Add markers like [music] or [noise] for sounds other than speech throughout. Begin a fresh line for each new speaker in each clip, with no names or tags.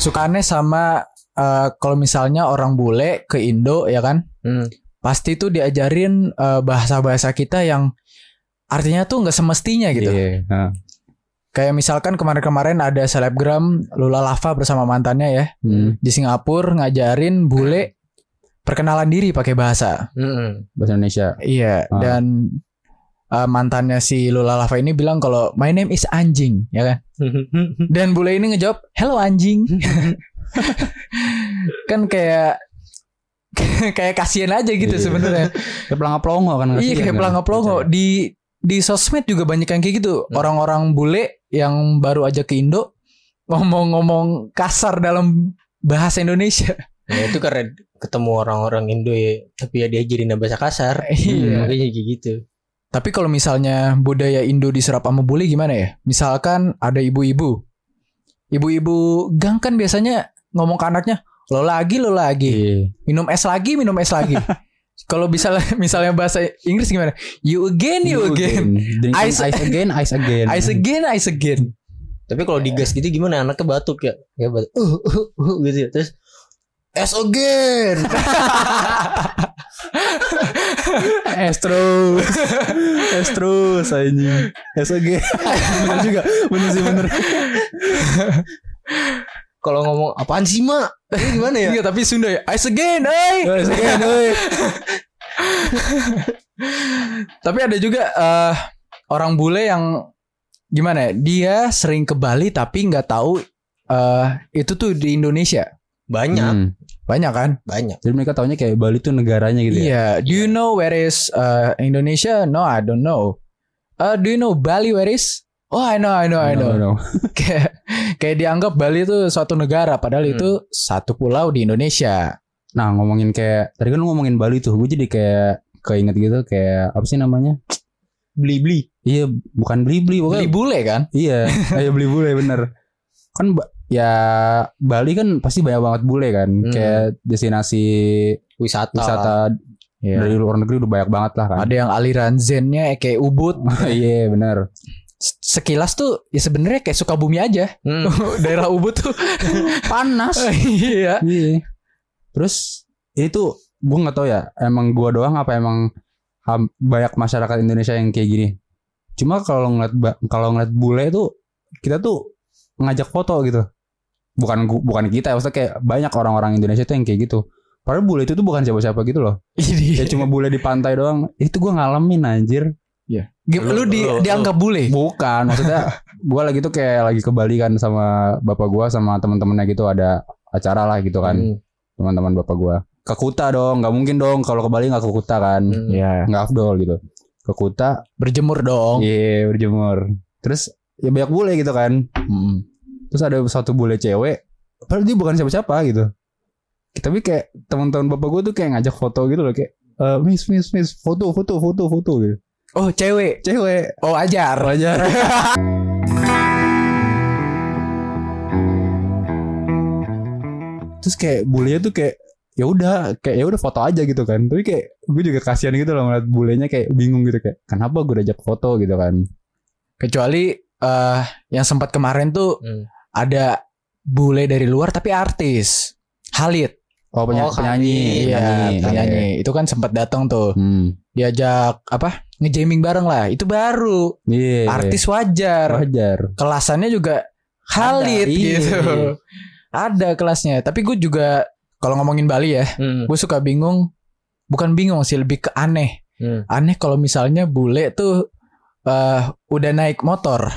Sukanya sama eh, kalau misalnya orang bule ke Indo ya kan,
Hmm.
pasti tuh diajarin eh, bahasa-bahasa kita yang artinya tuh nggak semestinya gitu.
Iya. Nah.
Kayak misalkan kemarin-kemarin ada selebgram Lula Lava bersama mantannya ya
Hmm.
di Singapura ngajarin bule perkenalan diri pakai bahasa.
Mm-mm.
bahasa
[laughs]
Indonesia.
Iya,
Ah.
dan eh, mantannya si Lula Lava ini bilang kalau my name is anjing, ya kan? Dan bule ini ngejawab, "Hello
[laughs]
anjing." kan kayak [laughs] kayak kasihan aja gitu
Iya.
sebenarnya.
Kayak pelangga-pelongo kan
Iya kayak pelangga-pelongo di di sosmed juga banyak yang kayak gitu.
Nah.
Hmm.
Orang-orang bule yang baru aja ke Indo ngomong-ngomong kasar dalam bahasa
[laughs]
Indonesia.
Nah, itu karena ketemu orang-orang Indo ya, tapi ya diajarin bahasa kasar.
Iya.
Makanya kayak gitu.
Tapi kalau misalnya budaya Indo diserap sama bule gimana ya? Misalkan ada ibu-ibu. Ibu-ibu gang kan biasanya ngomong ke anaknya, "Lo lagi, lo lagi.
Iya.
Minum es lagi, minum es
[laughs]
lagi." kalau bisa misalnya bahasa Inggris gimana? You again, you, again.
Drink
Ice-
ice, again, ice again.
[laughs] Ice again, ice again.
Tapi kalau digas gitu gimana anaknya batuk ya? Ya batuk. Uh, uh, uh, gitu ya. Terus S again.
Es terus. Es terus anjing. Es again. [laughs] bener juga. Bener sih
[laughs]
bener.
[laughs] kalau ngomong apaan sih, Mak? Ini gimana
[laughs]
ya?
Iya tapi Sunda ya Ice again oi.
Es again, oi.
Tapi ada juga eh, Orang bule yang Gimana ya Dia sering ke Bali Tapi nggak tahu eh Itu tuh di Indonesia Ya.
Banyak,
Hmm.
Banyak kan
banyak.
Jadi mereka taunya kayak Bali tuh negaranya gitu ya.
Iya Do you know where is eh, Indonesia No I don't know Eh, Do you know Bali where is Oh I know I know I know
No, no, no.
Kayak Kayak dianggap Bali itu suatu negara Padahal
Hmm.
itu Satu pulau di Indonesia
Nah ngomongin kayak tadi kan lu ngomongin Bali tuh, gue jadi kayak keinget gitu kayak apa sih namanya?
Beli-beli.
Iya, bukan beli beli, bukan.
Bali bule kan
Iya,
[laughs]
ayo beli bule bener. Kan ba- ya Bali kan pasti banyak banget bule kan,
Hmm.
kayak destinasi
Wisata.
wisata dari
Iya.
luar negeri udah banyak banget lah kan.
Ada yang aliran zennya Kayak Ubud
[laughs] Iya bener.
sekilas tuh ya sebenarnya kayak Sukabumi aja
Hmm.
[laughs] daerah Ubud tuh
Panas.
iya
Iya. Terus itu gue nggak tahu ya, emang gua doang apa emang ham- banyak masyarakat Indonesia yang kayak gini. Cuma kalau ngeliat ba- kalau ngeliat bule itu kita tuh ngajak foto gitu. Bukan gu- bukan kita, ya, maksudnya kayak banyak orang-orang Indonesia tuh yang kayak gitu. Padahal bule itu tuh bukan siapa-siapa gitu loh. Ya cuma bule di pantai doang. Itu gua ngalamin anjir.
[laughs] Gim- lu,
Lu-
di-
lu-
dianggap bule
Bukan,
[laughs]
maksudnya gua lagi tuh kayak lagi kebalikan sama bapak gua sama teman-temannya gitu ada acara lah gitu kan.
Hmm.
teman-teman bapak gua ke Kuta dong nggak mungkin dong kalau ke Bali nggak ke Kuta kan
Hmm.
Iya.
nggak afdol gitu ke Kuta
berjemur
Oh.
dong
iya berjemur terus ya banyak bule gitu kan
Hmm.
terus ada satu bule cewek padahal dia bukan siapa-siapa gitu tapi kayak teman-teman bapak gua tuh kayak ngajak foto gitu loh kayak eh, miss miss miss foto foto foto foto gitu
oh cewek
cewek
oh ajar
aja [laughs] terus kayak bulenya tuh kayak ya udah kayak ya udah foto aja gitu kan tapi kayak gue juga kasihan gitu loh ngeliat bulenya kayak bingung gitu kayak kenapa gue diajak foto gitu kan
kecuali eh yang sempat kemarin tuh
Hmm.
ada bule dari luar tapi artis Halid
oh,
Oh,
penya-
kali.
penyanyi
iya
penyanyi,
penyanyi itu kan sempat datang tuh
Hmm.
diajak apa ngejaming bareng lah itu baru
Iya, iya.
artis wajar
wajar
kelasannya juga Khalid
Ada, iya.
gitu. Ada kelasnya. Tapi gue juga kalau ngomongin Bali ya,
Hmm.
gue suka bingung. Bukan bingung sih, lebih ke aneh.
Hmm.
Aneh kalau misalnya bule tuh eh udah naik motor.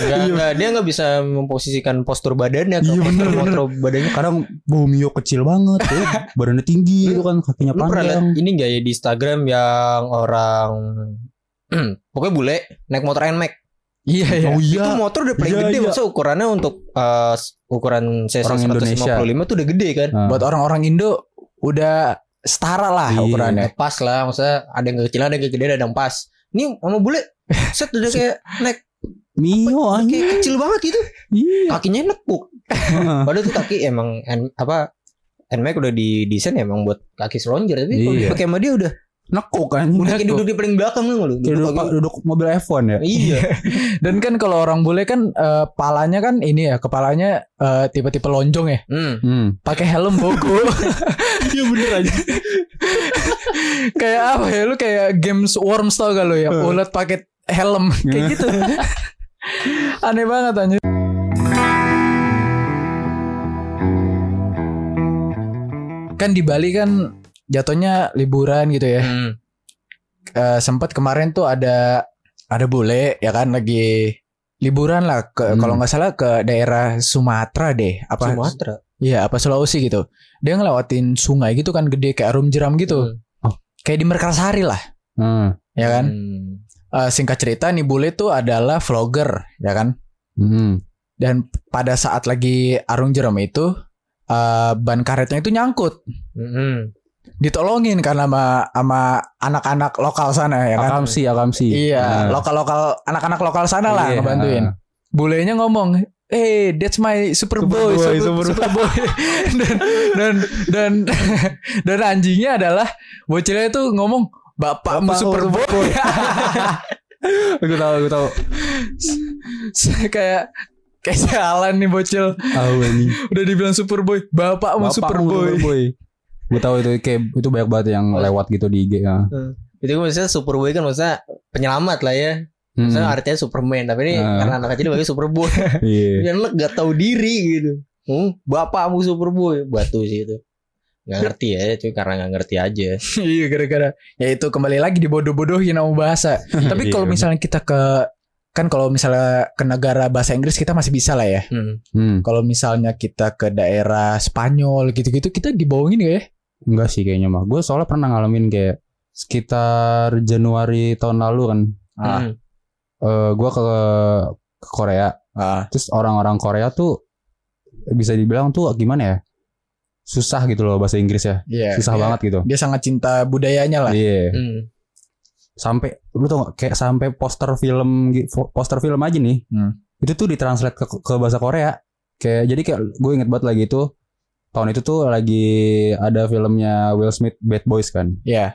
Nggak- nggak, dia nggak bisa memposisikan postur badannya
Iya, bener,
postur badannya
kadang Bumio kecil banget ya. badannya tinggi gitu kan kakinya
lu pernah lihat
panjang
ini nggak ya di Instagram yang orang [clears throat] pokoknya bule naik motor Nmax
Iya ya.
oh iya
itu motor udah paling
Iya,
gede
iya.
maksudnya ukurannya untuk eh, ukuran cc
Orang
155
Indonesia.
tuh udah gede kan
Nah,
Buat orang-orang Indo udah setara lah
Iya.
ukurannya.
Udah pas lah maksudnya ada yang kekecilan ada yang kegedean ada yang pas ini sama
[laughs]
bule set udah kayak naik
Mio Iya, anjing
kayak kecil banget gitu
Iya.
kakinya nekuk
Heeh.
padahal tuh kaki ya, emang N- apa Nmax udah didesain emang buat kaki selonjor tapi kalau
Iya.
dipakai sama dia udah
[laughs] nekuk kan
Udah kayak duduk di paling belakang kan lu.
Kayak duduk,
agak-
duduk mobil F1 ya
Iya.
Dan kan kalau orang bule kan eh, palanya kan ini ya, kepalanya eh, tipe-tipe lonjong ya.
Hmm.
hmm.
Pakai helm
[laughs]
bogo.
Iya bener aja.
kayak apa ya? Lu kayak games worms tau gak lu ya? Ulet pakai helm [laughs] kayak gitu. Aneh banget anjir. Kan di Bali kan jatuhnya liburan gitu ya.
Hmm.
Eh, sempat kemarin tuh ada ada bule ya kan lagi liburan lah ke
Hmm.
kalau nggak salah ke daerah Sumatera deh apa
Sumatera.
Iya, apa Sulawesi gitu. Dia ngelewatin sungai gitu kan gede kayak arum jeram gitu. Kayak di Merkasari lah,
Hmm.
ya kan?
Hmm.
Eh, singkat cerita nih bule tuh adalah vlogger, ya kan?
Hmm.
Dan pada saat lagi arung jeram itu eh, ban karetnya itu nyangkut.
Hmm.
Ditolongin karena sama sama anak-anak lokal sana ya kan.
Akamsi Akamsi
Iya,
Ah.
lokal-lokal anak-anak lokal sana lah
Iya.
ngebantuin. bulenya ngomong eh that's my superboy
Superboy,
super,
superboy."
superboy." [laughs] dan dan dan [laughs] dan anjingnya adalah bocilnya itu ngomong bapakmu
Bapakku
superboy [laughs]
Gue tau Gue tau
[laughs] kayak kayak jalan nih bocil
Tahu ini
udah dibilang superboy bapakmu
Bapakmu
superboy
Superboy Gue tau itu kayak Itu banyak banget yang lewat gitu di IG ya.
Itu kan maksudnya Superboy kan maksudnya penyelamat lah ya.
Hmm.
Maksudnya artinya Superman, tapi ini
Hmm.
karena anak kecil bagi Superboy.
Iya
Dan lu gak tahu diri gitu. Hmm, bapakmu Superboy, batu sih itu. Gak ngerti ya, cuy karena gak ngerti aja.
[laughs] iya gara-gara ya itu kembali lagi dibodoh-bodohin sama bahasa tapi
Iya,
kalau
bener.
misalnya kita ke kan kalau misalnya ke negara bahasa Inggris kita masih bisa lah ya
Hmm.
Hmm.
kalau misalnya kita ke daerah Spanyol gitu-gitu kita dibohongin gak ya
Enggak sih kayaknya mah Gue soalnya pernah ngalamin kayak Sekitar Januari tahun lalu kan
Ah.
Hmm.
eh Gue ke, ke Korea
Ah.
Terus orang-orang Korea tuh Bisa dibilang tuh gimana ya Susah gitu loh bahasa Inggris ya
Iya.
Susah
Iya.
banget gitu
Dia sangat cinta budayanya lah.
Iya
Hmm.
sampai lu tau gak kayak sampai poster film gi- fo- poster film aja nih
Hmm.
itu tuh ditranslate ke, ke bahasa Korea kayak jadi kayak gue inget banget lagi itu tahun itu tuh lagi ada filmnya Will Smith Bad Boys kan
Iya.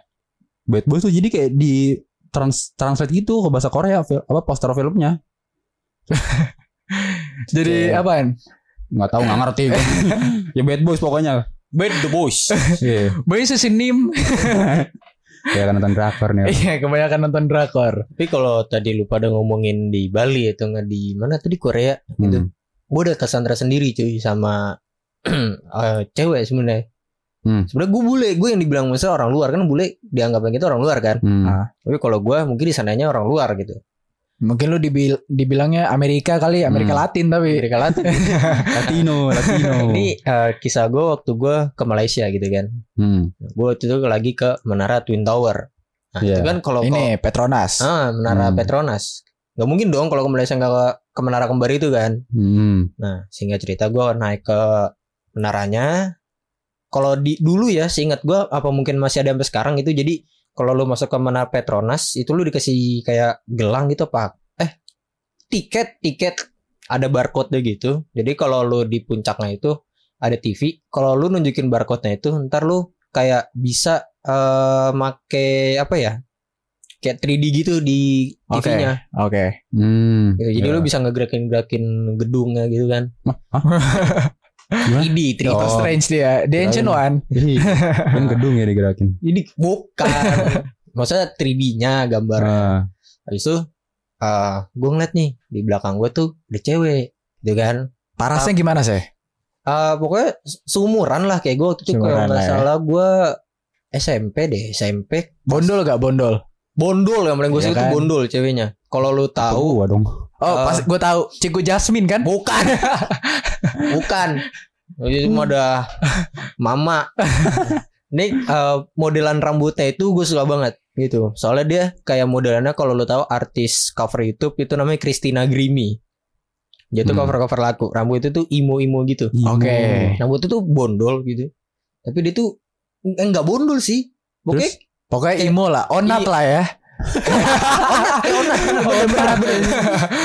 Bad Boys tuh jadi kayak di trans translate gitu ke bahasa Korea fil- apa poster filmnya
Jadi
Iya.
apaan?
nggak tahu nggak
[laughs]
ngerti gue. ya Bad Boys pokoknya
Bad the boys.
iya
Bayi sesinim.
kayak kan nonton drakor nih
Iya, kebanyakan nonton drakor.
Tapi kalau tadi lu pada ngomongin di Bali atau nggak di mana tadi Korea, gitu.
hmm.
gue udah kesandra sendiri cuy sama [clears throat] eh, cewek sebenarnya.
Hmm.
Sebenarnya gue bule, gue yang dibilang masa orang luar kan bule dianggapnya kita orang luar kan.
Hmm.
Ah.
Tapi kalau gue mungkin di sananya orang luar gitu.
Mungkin lu dibil- dibilangnya Amerika kali, Amerika
Hmm.
Latin tapi.
Amerika Latin.
[laughs]
Latino Latino
Ini eh, kisah gue waktu gue ke Malaysia gitu kan.
hmm.
Gue waktu itu lagi ke Menara Twin Tower. Nah, itu
Iya.
kan kalau
Ini Petronas.
kalau- ah, Menara
Hmm.
Petronas. Gak mungkin dong kalau ke Malaysia nggak ke, ke Menara Kembar itu kan.
Hmm.
Nah, sehingga cerita gua naik ke menaranya. Kalau di dulu ya, seingat gua apa mungkin masih ada sampai sekarang itu. Jadi kalau lu masuk ke menara Petronas, itu lu dikasih kayak gelang gitu pak. Eh, tiket, tiket ada barcode gitu. Jadi kalau lu di puncaknya itu ada TV. Kalau lu nunjukin barcode-nya itu, ntar lu kayak bisa eh make apa ya? Kayak 3D gitu di
Oke.
TV-nya.
Oke.
Hmm.
Gitu. Jadi
Iya.
Ya.
lu bisa ngegerakin-gerakin gedungnya gitu kan. [laughs]
Gimana?
3D, 3D.
Doctor
Oh.
Strange dia, The Ancient
Kirain.
One.
Iya.
Ih, kan gedung ya digerakin.
Jadi
[laughs]
bukan. Maksudnya 3D-nya gambar.
Ah,
Habis itu gue ngeliat nih di belakang gue tuh ada cewek gitu kan.
Parasnya gimana sih?
Eh, pokoknya se- seumuran lah kayak gue waktu itu kalau
Seumuran
nggak
lah ya.
salah gue SMP deh SMP
Bondol gak bondol?
bondol yang paling gue
Iya
sebut
kan?
bondol ceweknya kalau lu tahu
gua dong.
Oh,
Ah.
pas gue tahu Ciku Jasmine kan?
bukan bukan itu mah ada mama ini eh, modelan rambutnya itu gue suka banget gitu soalnya dia kayak modelannya kalau lo tahu artis cover YouTube itu namanya Christina Grimmie dia tuh
Hmm.
cover cover lagu rambut itu tuh imo imo gitu
Oke.
rambut itu tuh bondol gitu tapi dia tuh eh, nggak bondol sih oke [laughs]
Terus?
Pokoknya
Kayak-
Imo lah, Onat
Iya.
lah ya.
bener bener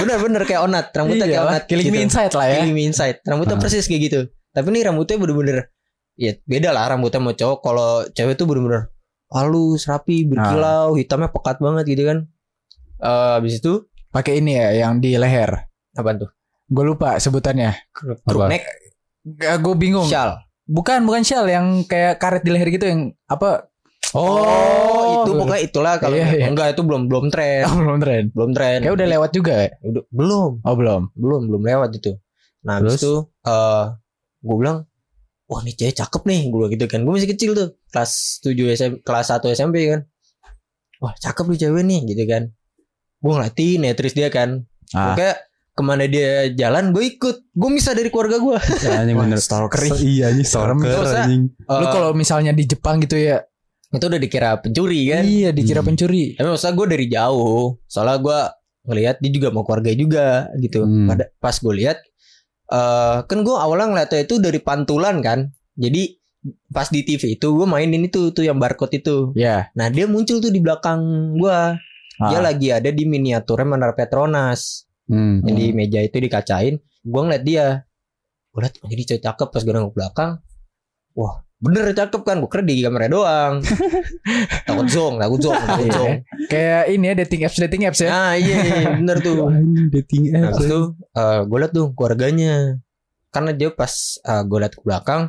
bener bener kayak onat rambutnya kayak
Iya,
Iyalah,
onat
Iya Killing Me
gitu.
Inside lah ya.
Killing Me Inside. Rambutnya
Ah.
persis kayak gitu. Tapi ini rambutnya bener-bener ya beda lah rambutnya mau cowok kalau cewek tuh bener-bener halus rapi
Ah.
berkilau hitamnya pekat banget gitu kan Eh habis itu
Pakai ini ya yang di leher.
apa tuh
Gue lupa sebutannya.
crew neck
gue bingung.
shawl
Bukan, bukan shawl yang kayak karet di leher gitu yang apa?
Oh, itu pokoknya itulah kalau
Iya, iya.
enggak itu belum belum tren,
Oh, [laughs] belum tren.
belum tren.
Kayak udah lewat juga ya?
Udah- belum,
Oh, belum.
belum belum lewat itu. Nah, habis
Terus?
itu eh gue bilang, "Wah, ini cewek cakep nih." Gue gitu kan. Gue masih kecil tuh, kelas 7 SMP, kelas 1 SMP kan. Wah, cakep nih cewek nih gitu kan. Gue ngeliatin ya terus dia kan.
Ah.
Pokoknya kemana dia jalan gue ikut. Gue bisa dari keluarga gue.
Ya, anjing bener.
stalker.
So- iya anjing
Serem.
stalker
Dosa.
anjing.
Lu kalau misalnya di Jepang gitu ya.
Eh, itu udah dikira pencuri kan.
Iya, dikira
Hmm.
pencuri.
Tapi maksudnya gue dari jauh Soalnya gue ngelihat dia juga mau keluarga juga gitu
Hmm.
Pada, Pas gue lihat eh Kan gue awalnya ngeliatnya itu dari pantulan kan Jadi pas di TV itu gue mainin itu tuh yang barcode itu
Ya.
Nah dia muncul tuh di belakang gue Dia
Ah.
lagi ada di miniaturnya Menara Petronas
Hmm.
Yang di meja itu dikacain Gue ngeliat dia Gue liat "Oh, jadi cewek cakep Pas gue nengok belakang Wah bener cakep kan Gue kira di kamarnya doang Takut zong Takut zong Takut
Iya.
zong
Kayak ini ya dating apps dating apps ya.
Nah iya, iya bener tuh.
Oh, Anjing dating
Nah
apps.
terus tuh gue liat tuh keluarganya. Karena dia pas gue liat ke belakang,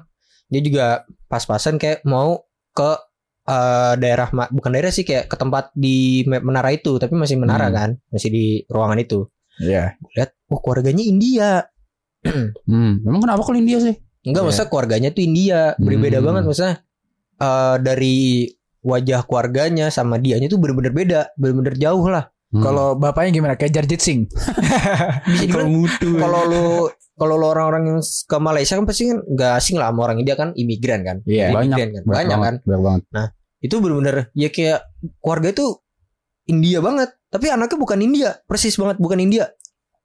dia juga pas-pasan kayak mau ke eh, daerah ma- bukan daerah sih kayak ke tempat di me- menara itu, tapi masih menara
Hmm.
kan, masih di ruangan itu.
Iya.
Gue liat, oh keluarganya India.
Hmm. Emang kenapa kalau India sih?
Enggak,
Iya.
maksudnya keluarganya tuh India. Berbeda
Hmm.
banget maksudnya eh, dari wajah keluarganya sama dianya tuh bener-bener beda, bener-bener jauh lah.
Hmm.
Kalau bapaknya gimana? Kayak Jarjit Singh.
Bisa
Iya.
dibilang
mutu.
kalau lu kalau lu orang-orang yang ke Malaysia kan pasti kan nggak asing lah sama orang India kan imigran kan
Iya.
Dia
banyak.
imigran kan banyak kan
Banyak banget.
itu benar-benar ya kayak keluarga itu India banget tapi anaknya bukan India persis banget bukan India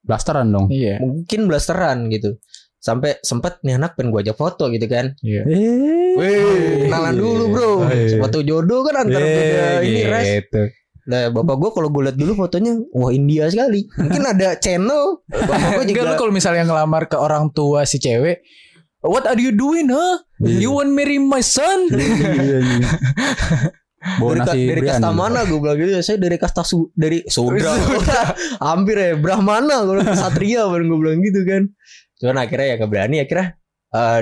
Blasteran dong.
Iya.
mungkin blasteran gitu sampai sempet nih anak pengen gua ajak foto gitu kan
Iya.
Eh.
Wih, kenalan dulu bro
Eh.
foto jodoh kan antara
Iya,
beda ini ras
gitu.
nah bapak gua kalau gua lihat dulu fotonya wah India sekali mungkin ada channel bapak gua juga
Enggak lu kalau misalnya ngelamar ke orang tua si cewek What are you doing, huh? You want marry my son?
Iya, anjing.
[laughs]
Bawa
dari,
nasi
dari, dari
biryani.
kasta mana gue bilang gitu saya dari kasta su, dari [laughs] sudra hampir ya brahmana gue bilang satria baru gue bilang gitu kan cuman akhirnya ya gak berani akhirnya eh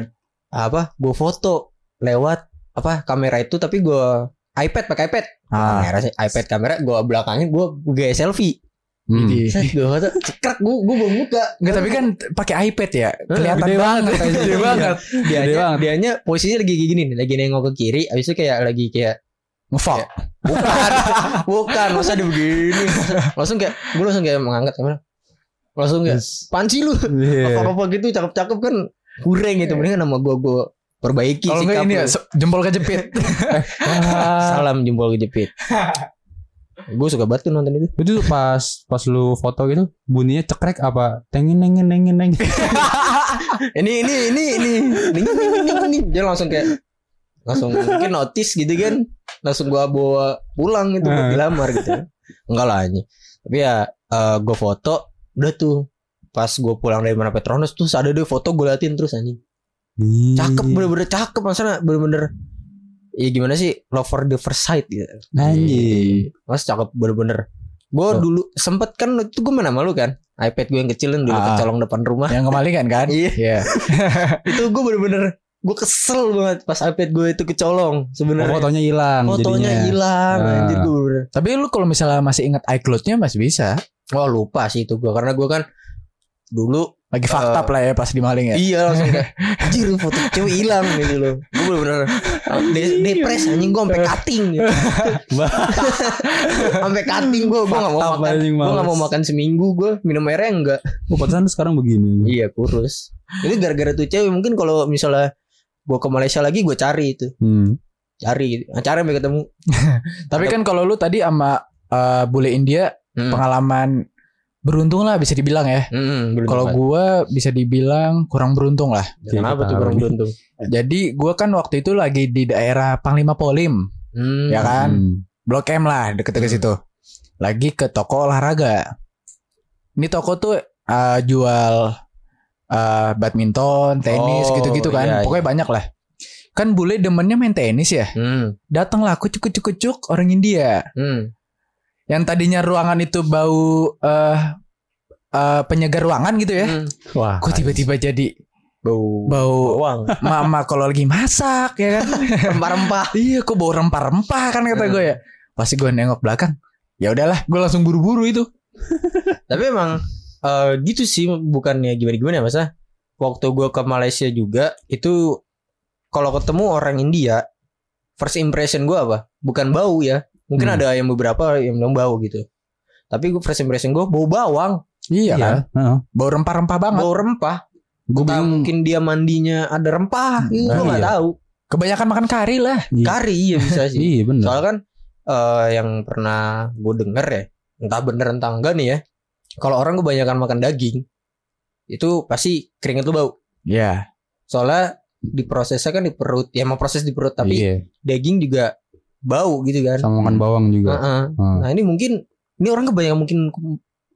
apa gue foto lewat apa kamera itu tapi gue iPad pakai iPad
Ah.
kamera sih iPad kamera gue belakangin gue gaya selfie
Hmm.
Jadi-
gue foto cekrek gue gue belum buka
Enggak, tapi kan t- pakai iPad ya. Kelihatan
gede
banget. Iya.
banget.
Gede banget.
Gede
dianya
banget.
dianya posisinya lagi kayak gini nih lagi nengok ke kiri abis itu kayak lagi kayak
Ngefuck.
bukan bukan masa dia begini langsung kayak gue langsung kayak mengangkat kamera langsung kayak panci lu
Iya.
apa apa gitu cakep cakep kan kurang gitu mendingan nama gue gue perbaiki
Kalau enggak
sikap
ini
lu.
ya se- jempol [laughs] kejepit.
Ah.
salam jempol kejepit gue suka banget tuh nonton itu
Itu tuh pas pas lu foto gitu bunyinya cekrek apa tengin nengin nengin nengin.
ini ini ini ini ini ini ini, ini. dia langsung kayak langsung mungkin notice gitu kan langsung gua bawa pulang gitu buat
Ah.
dilamar gitu enggak lah anjing. tapi ya eh, gua foto udah tuh pas gua pulang dari mana Petronas terus ada deh foto gua liatin terus anjing cakep
Iya.
bener-bener cakep maksudnya bener-bener ya gimana sih lover the first sight gitu
Anjing.
mas cakep bener-bener gua
Tuh.
dulu sempet kan itu gua main sama lu kan iPad gua yang kecilin dulu
Ah.
kecolong depan rumah [laughs]
Yang kemalingan kan?
Iya.
Iya.
itu gue bener-bener gue kesel banget pas iPad gue itu kecolong
Oh,
sebenarnya
fotonya hilang
fotonya
jadinya.
hilang
Ah.
anjir gue bener
Tapi lu kalau misalnya masih ingat iCloud-nya masih bisa.
oh lupa sih itu gue karena gue kan dulu
Lagi fucked
Eh.
up lah ya pas dimaling ya.
iya langsung kayak anjir foto cewek hilang gitu loh gue bener-bener
Iya.
de- depres anjing gue sampai cutting gitu.
[laughs]
sampai cutting gue gue gak mau
Fakta
makan
paling
gue gak mau
males.
makan seminggu gue minum airnya enggak
Oh, pantesan lu sekarang begini.
iya kurus itu gara-gara tuh cewek mungkin kalau misalnya gue ke Malaysia lagi gue cari itu
Hmm.
cari gitu. cari sampai ketemu
Tapi kan kalau lu tadi sama eh, bule India
Hmm.
pengalaman beruntung lah bisa dibilang ya.
Mm-mm, belum
Kalau
dapat.
gua bisa dibilang kurang beruntung lah.
Kenapa
Kita
tuh kurang
alami.
beruntung?
Jadi gua kan waktu itu lagi di daerah Panglima Polim,
Hmm.
ya kan?
Hmm.
Blok M lah deket-deket
Hmm.
situ. Lagi ke toko olahraga. Ini toko tuh eh, jual eh, badminton, tenis
Oh,
gitu-gitu kan.
iya,
Pokoknya banyak lah. Kan bule demennya main tenis ya.
Hmm.
Datanglah kucuk kucuk kucuk orang India.
Hmm.
Yang tadinya ruangan itu bau eh eh, penyegar ruangan gitu ya.
Hmm.
Wah.
Kok tiba-tiba jadi
Bau
bau
bawang,
mama kalau lagi masak ya kan.
rempah-rempah.
iya kok bau rempah-rempah kan kata
Hmm.
gue ya. Pasti gue nengok belakang. Ya udahlah, gue langsung buru-buru itu.
[laughs] Tapi emang eh, gitu sih bukannya gimana-gimana ya, Mas. ah. Waktu gue ke Malaysia juga itu kalau ketemu orang India first impression gue apa? Bukan bau ya. Mungkin
Hmm.
ada yang beberapa yang bilang bau gitu. Tapi gue first impression gue bau bawang,
Iya, kan?
Heeh.
Bau rempah-rempah banget.
bau rempah.
Gue
Entah
bingung.
mungkin dia mandinya ada rempah, gitu, gue
Nah,
nggak
iya.
tahu.
Kebanyakan makan kari lah.
Iya.
Kari iya bisa sih.
Iya bener.
Soalnya kan eh, yang pernah gue denger ya, entah bener entah enggak nih ya. Kalau orang kebanyakan makan daging, itu pasti keringet lu bau.
Iya.
Soalnya diprosesnya kan di perut, ya emang proses di perut tapi
Iya.
daging juga bau gitu kan.
Sama makan bawang juga.
Heeh.
Hmm.
Nah ini mungkin ini orang kebanyakan mungkin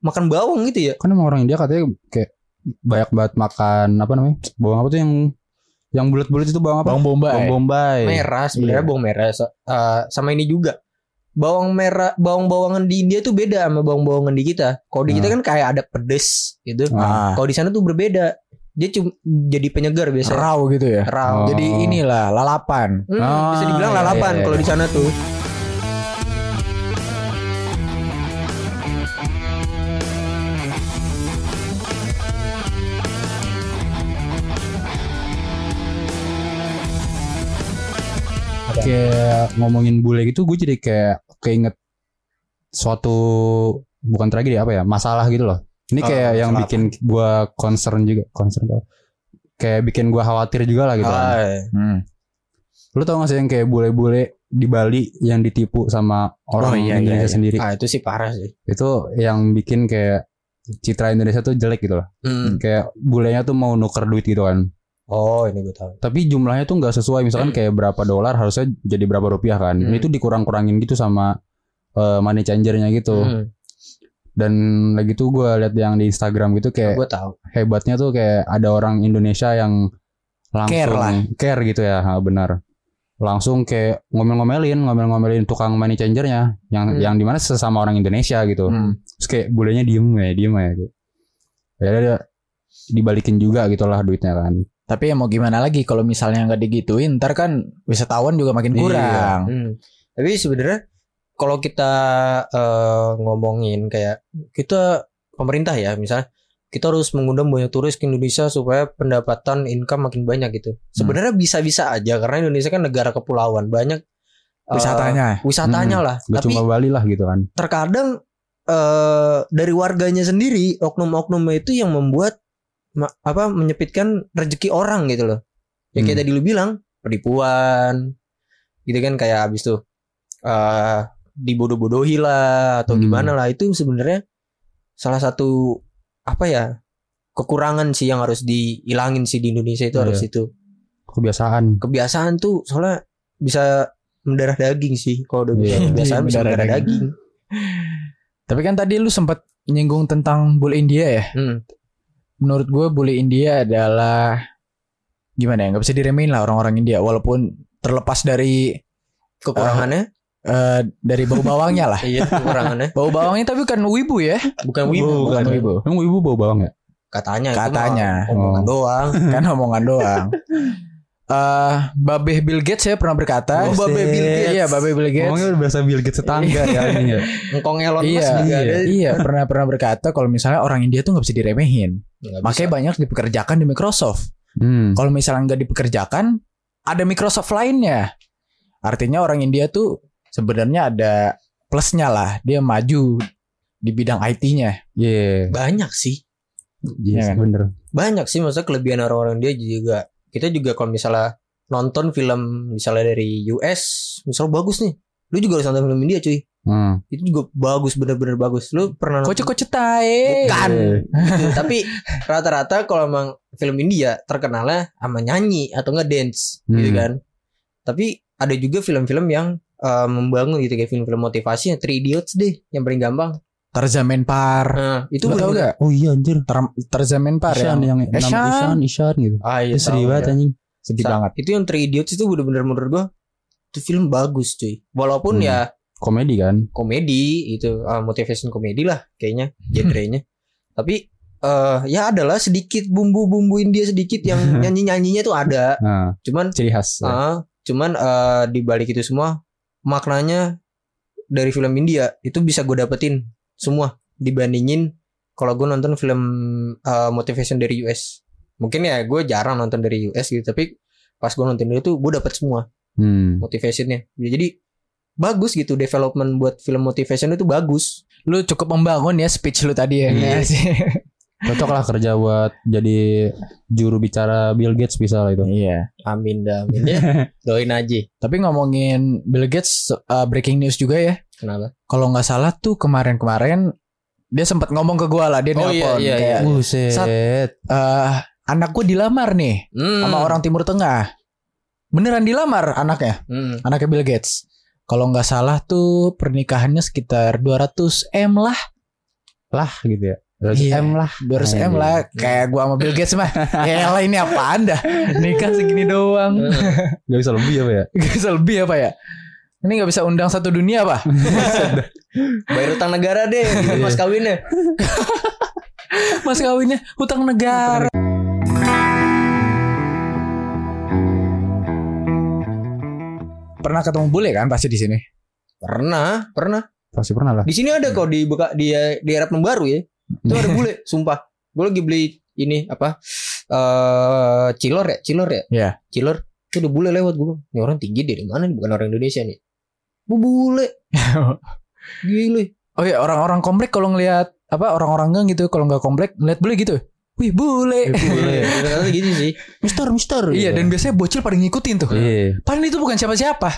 makan bawang gitu ya.
kan emang orang India katanya kayak banyak banget makan apa namanya bawang apa tuh yang yang bulat-bulat itu bawang apa?
Bawang bombay.
Bawang bombay.
Merah sebenarnya
Iya.
bawang merah So- eh, sama ini juga. Bawang merah, bawang-bawangan di India tuh beda sama bawang-bawangan di kita. Kalau di kita kan kayak ada pedes gitu.
Ah.
Nah,
Kalau di sana tuh berbeda. Dia cuma jadi penyegar biasanya.
Raw gitu ya.
Raw.
Oh.
Jadi inilah lalapan.
Hmm,
Ah,
bisa dibilang
iya,
lalapan
iya,
kalau
iya.
di sana tuh.
Kayak ngomongin bule gitu gue jadi kayak keinget suatu bukan tragedi apa ya masalah gitu loh. Ini
Oh,
kayak yang
masalah
bikin gue concern juga concern apa? kayak bikin gue khawatir juga lah gitu. kan.
Ah,
Hmm.
Lu tau gak sih yang kayak bule-bule di Bali yang ditipu sama orang
Oh, iya, iya,
Indonesia
iya.
sendiri
ah, itu sih parah sih.
itu yang bikin kayak citra Indonesia tuh jelek gitu loh.
Hmm.
kayak bulenya tuh mau nuker duit gitu kan
Oh ini gue tahu.
tapi jumlahnya tuh nggak sesuai misalkan kayak berapa dolar harusnya jadi berapa rupiah kan
Hmm.
ini tuh dikurang-kurangin gitu sama eh, money changernya gitu
Hmm,
dan lagi tuh gue lihat yang di Instagram gitu kayak
Gue tahu.
hebatnya tuh kayak ada orang Indonesia yang langsung
Care lah.
care gitu ya ha, benar langsung kayak ngomel-ngomelin ngomel-ngomelin tukang money changernya yang
Hmm.
yang dimana sesama orang Indonesia gitu
Hmm.
terus kayak bulenya diem ya diem ya gitu ya dia dibalikin juga gitu lah duitnya kan
Tapi ya mau gimana lagi kalau misalnya nggak digituin, ntar kan wisatawan juga makin
Iya.
kurang.
Hmm. Tapi sebenarnya kalau kita eh, ngomongin kayak kita pemerintah ya misalnya kita harus mengundang banyak turis ke Indonesia supaya pendapatan income makin banyak gitu. Sebenarnya bisa-bisa aja karena Indonesia kan negara kepulauan banyak eh,
Wisatanya.
wisatanya lah.
Gak
Tapi
cuma Bali lah gitu kan.
terkadang eh dari warganya sendiri oknum-oknumnya itu yang membuat ma- apa menyepitkan rezeki orang gitu loh ya kayak
Hmm.
tadi lu bilang penipuan gitu kan kayak abis tuh eh dibodoh-bodohi lah atau
Hmm.
gimana lah itu sebenarnya salah satu apa ya kekurangan sih yang harus dihilangin sih di Indonesia itu
Iya.
harus itu
Kebiasaan.
kebiasaan tuh soalnya bisa mendarah daging sih kalau udah
Iya.
kebiasaan bisa
Mendarah
mendarah
daging.
daging,
Tapi kan tadi lu sempat nyinggung tentang bule India ya.
Ah.
Hmm.
Menurut gue bule India adalah gimana ya? Nggak bisa diremehin lah orang-orang India. Walaupun terlepas dari
kekurangannya
eh, dari bau bawangnya
[laughs]
lah.
Iya kekurangannya
Bau bawangnya tapi kan wibu ya.
Bukan wibu
bukan
bukan.
wibu.
Emang ibu bawa bawang ya?
Katanya itu
Katanya.
mah Omongan
Oh.
doang
[laughs] kan omongan doang. Eh, Babeh Bill Gates ya pernah berkata.
Oh, Babeh Bill Gates.
Iya, Babeh Bill Gates.
Ngomongnya udah biasa Bill Gates tetangga ya. anjing ya.
Engkong Elon Musk
Iya,
juga
iya,
ada
iya, pernah pernah berkata kalau misalnya orang India tuh nggak bisa diremehin.
Nggak
Makanya
bisa.
banyak dipekerjakan di Microsoft.
Hmm.
Kalau misalnya nggak dipekerjakan, ada Microsoft lainnya. Artinya orang India tuh sebenarnya ada plusnya lah. Dia maju di bidang IT-nya.
Iya.
Banyak sih
Iya
Iya kan?
bener.
Banyak sih Maksudnya kelebihan orang-orang dia juga Kita juga kalau misalnya Nonton film Misalnya dari US Misalnya bagus nih Lu juga harus nonton film India cuy
Hmm.
Itu juga bagus Bener-bener bagus Lu pernah nonton
[laughs] Kocok kocok tae.
Bukan
Iya.
Gitu. Tapi Rata-rata kalau emang Film India Terkenalnya Sama nyanyi Atau nge-dance Gitu
Hmm.
kan Tapi ada juga film-film yang eh, membangun gitu kayak film-film motivasi yang 3 idiots deh yang paling gampang
Terza Menpar.
Nah, itu
Lu tau
bener-bener-
gak?
Oh iya anjir.
Ter Terza Menpar
Ishan
yang
yang enam
ya. Ishan.
Ishan Ishan gitu.
Ah, iya,
Itu sedih
tahu
banget
ya.
anjing. sedih
Sa-
banget
Itu yang Three Idiots itu bener-bener menurut gua itu film bagus cuy. Walaupun
Hmm.
ya
komedi kan
komedi itu ah, motivation komedi lah
[laughs]
kayaknya genrenya. Tapi eh ya adalah sedikit bumbu-bumbu India sedikit
[laughs]
yang nyanyi-nyanyinya tuh ada.
nah,
Cuman
ciri khas
ah, cuman eh di balik itu semua maknanya dari film India itu bisa gue dapetin semua dibandingin kalau gue nonton film eh, motivation dari US. Mungkin ya gue jarang nonton dari US gitu tapi pas gue nonton itu gue dapet semua
hmm.
motivationnya Ya, jadi bagus gitu development buat film motivation itu bagus
Lu cukup membangun ya speech lu tadi ya.
Iya.
[laughs] Ya sih.
cocok lah kerja buat jadi juru bicara Bill Gates bisa lah itu
Iya.
amin dah [laughs] amin ya doain aja
Tapi ngomongin Bill Gates uh, breaking news juga ya.
kenapa
Kalau nggak salah tuh kemarin-kemarin dia sempat ngomong ke gua lah dia
Oh, iya,
nelpon
iya,
kayak
Buset
"Eh, anak gua dilamar nih
Hmm,
sama orang Timur Tengah. Beneran dilamar anaknya,
hmm.
anaknya Bill Gates. Kalau nggak salah tuh pernikahannya sekitar 200 M lah,
lah gitu ya Terus
Iya.
M lah
200 M
Anjing.
lah. Kayak gua sama Bill Gates mah. ya lah ini apaan dah? Nikah segini doang.
[laughs] Hmm.
Gak bisa lebih
[laughs]
apa ya
Gak bisa lebih apa ya? Ini gak bisa undang satu dunia apa?
bayar utang negara deh [laughs] gitu pas kawinnya
Mas kawinnya hutang negara. Pernah ketemu bule kan pasti di sini?
pernah pernah
Pasti pernah lah
di sini ada
Hmm.
kok di Beka- di di Arab Baru ya itu
[laughs]
ada bule sumpah gue lagi beli ini apa eh cilor ya cilor ya
Iya.
cilor itu udah bule lewat gue ini orang tinggi dari mana nih bukan orang Indonesia nih gue
[laughs]
bule gile
Oh iya orang-orang komplek kalau ngelihat apa orang-orang gang gitu kalau nggak komplek ngeliat bule gitu. Wih bule.
[laughs] Boleh. Kata-kata gitu sih.
Mister Mister gitu.
iya dan biasanya bocil pada ngikutin tuh.
Iya
Padahal itu bukan siapa-siapa.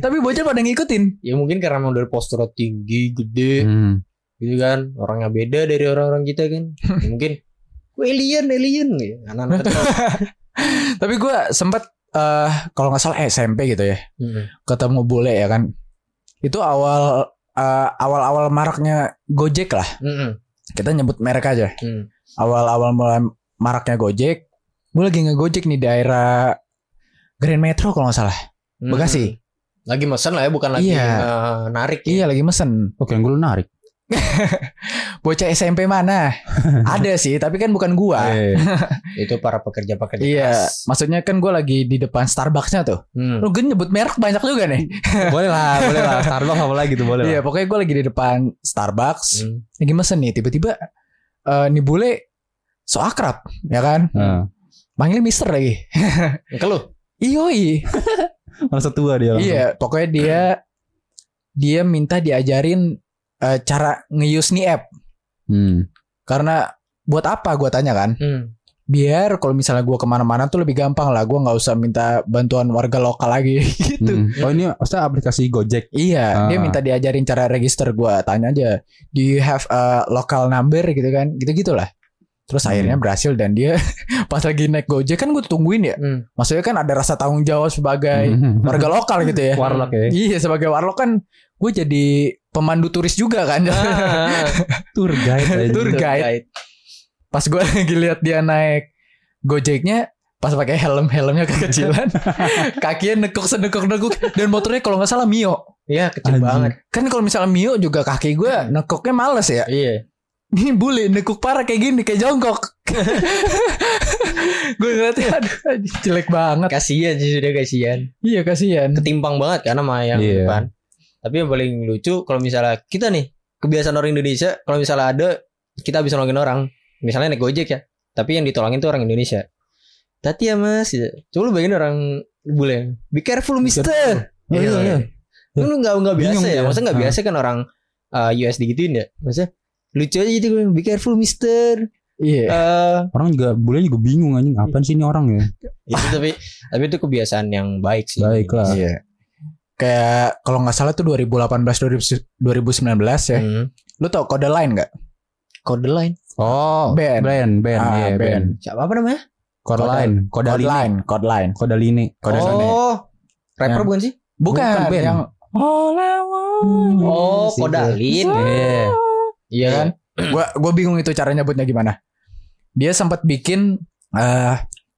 Tapi bocil pada ngikutin.
Ya mungkin karena emang dari postur tinggi, gede,
Hmm.
gitu kan. Orangnya beda dari orang-orang kita
[laughs]
kan. Ya mungkin "Wah, alien, alien. gitu. Anak-anak kecil.
Tapi gua sempat eh kalau nggak salah SMP gitu ya
Hmm.
ketemu bule ya kan. Itu awal eh, awal-awal maraknya Gojek lah.
Mm-mm.
Kita nyebut merek aja.
Hmm.
awal-awal mulai maraknya Gojek, gue lagi ngegojek nih daerah Grand Metro kalau nggak salah.
Hmm.
Bekasi.
Lagi mesen lah ya, bukan lagi
Iya.
eh, narik ya.
Iya lagi mesen.
Oke yang gue narik
Bocah SMP mana? Ada sih, tapi kan bukan
Oh,
gua.
Eh.
Itu para pekerja-pekerja
Iya,
keras.
maksudnya kan gue lagi di depan Starbucksnya tuh.
Hmm.
Lu gue nyebut merek banyak juga nih.
Boleh [laughs] lah Boleh lah Starbucks apa lagi tuh boleh
Iya,
lah
pokoknya gue lagi di depan Starbucks,
Hmm.
lagi mesen nih. Tiba-tiba eh nih bule so akrab, ya kan?
Nah,
Manggil Mister lagi. [laughs]
Ke lu?
Iyoi.
Merasa tua dia langsung.
Iya, pokoknya dia dia minta diajarin eh, cara nge-use nih app
Hmm.
karena buat apa gua tanya kan?
Hmm.
Biar kalau misalnya gua kemana-mana tuh lebih gampang lah, gua nggak usah minta bantuan warga lokal lagi [laughs] gitu.
Hmm. Oh ini maksudnya aplikasi Gojek
Iya, dia
Ah.
minta diajarin cara register. Gua tanya aja, do you have a local number gitu kan? Gitu gitulah. Terus
Hmm.
akhirnya berhasil dan dia [laughs] pas lagi naik Gojek kan gue tungguin ya.
Hmm.
Maksudnya kan ada rasa tanggung jawab sebagai
Hmm.
warga lokal gitu
[laughs]
Eh.
ya.
Warlock ya
Iya sebagai warlock kan gue jadi pemandu turis juga kan.
[laughs] Ah,
Tour guide aja.
Tour guide. Pas gue [laughs] lagi lihat dia naik gojeknya pas pakai helm helmnya kekecilan kakinya nekuk senekuk nekuk dan motornya kalau nggak salah mio
Iya, kecil
Anjing.
banget.
kan kalau misalnya mio juga kaki gue nekuknya males ya
Iya.
ini bule nekuk parah kayak gini kayak jongkok [laughs] gue ngeliatnya aduh anjing, jelek banget
Kasihan sih sudah kasihan.
iya kasihan
ketimpang banget kan sama yang
Iya.
depan. Tapi yang paling lucu kalau misalnya kita nih kebiasaan orang Indonesia kalau misalnya ada kita bisa nolongin orang. Misalnya naik Gojek ya, tapi yang ditolongin tuh orang Indonesia. Tati ya mas, gitu. coba lu bayangin orang bule. Be careful mister.
Oh, iya, iya.
Lu lu nggak nggak biasa
Bingung
ya,
dia.
maksudnya nggak
Ah.
biasa kan orang uh, US digituin ya, maksudnya lucu aja gitu be careful mister
iya
Eh,
Orang juga Boleh juga bingung anjing Apaan sih ini orang ya
itu tapi tapi itu kebiasaan yang baik sih
Baik lah.
iya kayak kalau nggak salah tuh 2018 2019 ya
Hmm.
Lu tau kode lain gak?
kode lain
Oh
Ben.
Ben Ben
Ah,
iya,
Ben.
Ben
siapa apa namanya
Kodaline
Kode
Kodaline
lain, kode lain.
Kodaline
Kode
oh
lain.
rapper
Nah.
Yang-
bukan sih
Bukan,
Bukan band.
yang All I want.
Hmm.
Oh,
Sih,
kodalin.
Iya
Iya
kan? gua gua bingung itu cara nyebutnya gimana. Dia sempat bikin eh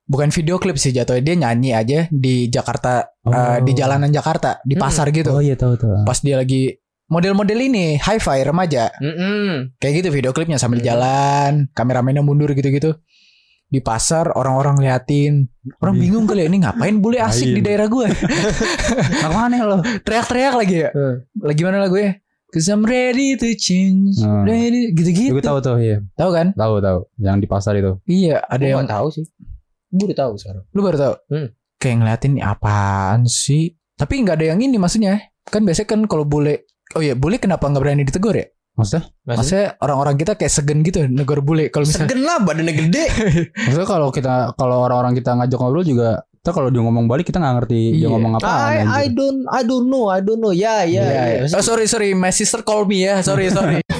bukan video klip sih jatuhnya dia nyanyi aja di Jakarta eh, di jalanan Jakarta di
Hmm.
pasar gitu
Oh iya tahu tahu.
pas dia lagi model-model ini hi-fi remaja
Mm-mm.
kayak gitu video klipnya sambil
Hmm.
jalan kameramennya mundur gitu-gitu di pasar orang-orang liatin orang
Iya.
bingung kali ya ini ngapain bule asik
Ngapain?
di daerah gue
Aku aneh loh.
teriak-teriak lagi ya
Hmm.
lagi mana lagu ya Cause I'm ready to change
Hmm.
ready
Gue
gitu-gitu
tahu tuh iya.
tahu kan
Tahu tahu. Yang di pasar itu.
iya ada
Gua
yang
nggak tahu sih. Gue udah tahu sekarang.
lu baru tahu
Hmm.
kayak ngeliatin "Ini apaan sih tapi nggak ada yang ini maksudnya kan biasanya kan kalau bule oh iya bule kenapa nggak berani ditegur ya
Maksudnya?
maksudnya orang-orang kita kayak segen gitu negor bule kalau misalnya
Segen lah badannya gede.
Maksudnya kalau kita kalau orang-orang kita ngajak ngobrol juga kita kalau dia ngomong balik kita nggak ngerti dia
Iya.
ngomong apa
I, I don't I don't know I don't know ya
Iya,
ya. ya.
iya. Oh, sorry sorry my sister call me ya sorry sorry